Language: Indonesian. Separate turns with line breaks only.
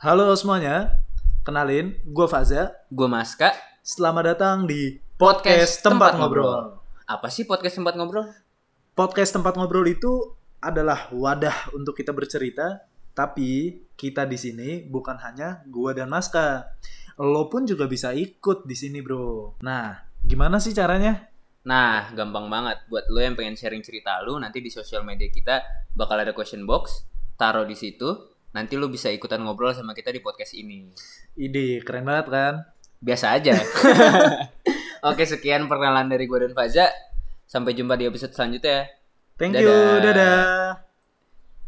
Halo semuanya, kenalin gue Faza.
Gue Maska,
Selamat datang di
Podcast
podcast tempat
Tempat
ngobrol.
apa sih podcast tempat ngobrol?
Podcast tempat ngobrol itu adalah wadah untuk kita bercerita, tapi kita di sini bukan hanya gue dan Maska. Lo pun juga bisa ikut di sini bro. Nah, gimana sih caranya?
Nah, gampang banget. Buat lo yang pengen sharing cerita lo, nanti di sosial media kita bakal ada question box. Taruh di situ, nanti lo bisa ikutan ngobrol sama kita di podcast ini.
Ide keren banget kan?
Biasa aja. Oke, sekian perkenalan dari gue dan Faza. Sampai jumpa di episode selanjutnya.
Thank you,
Dadah.
dadah.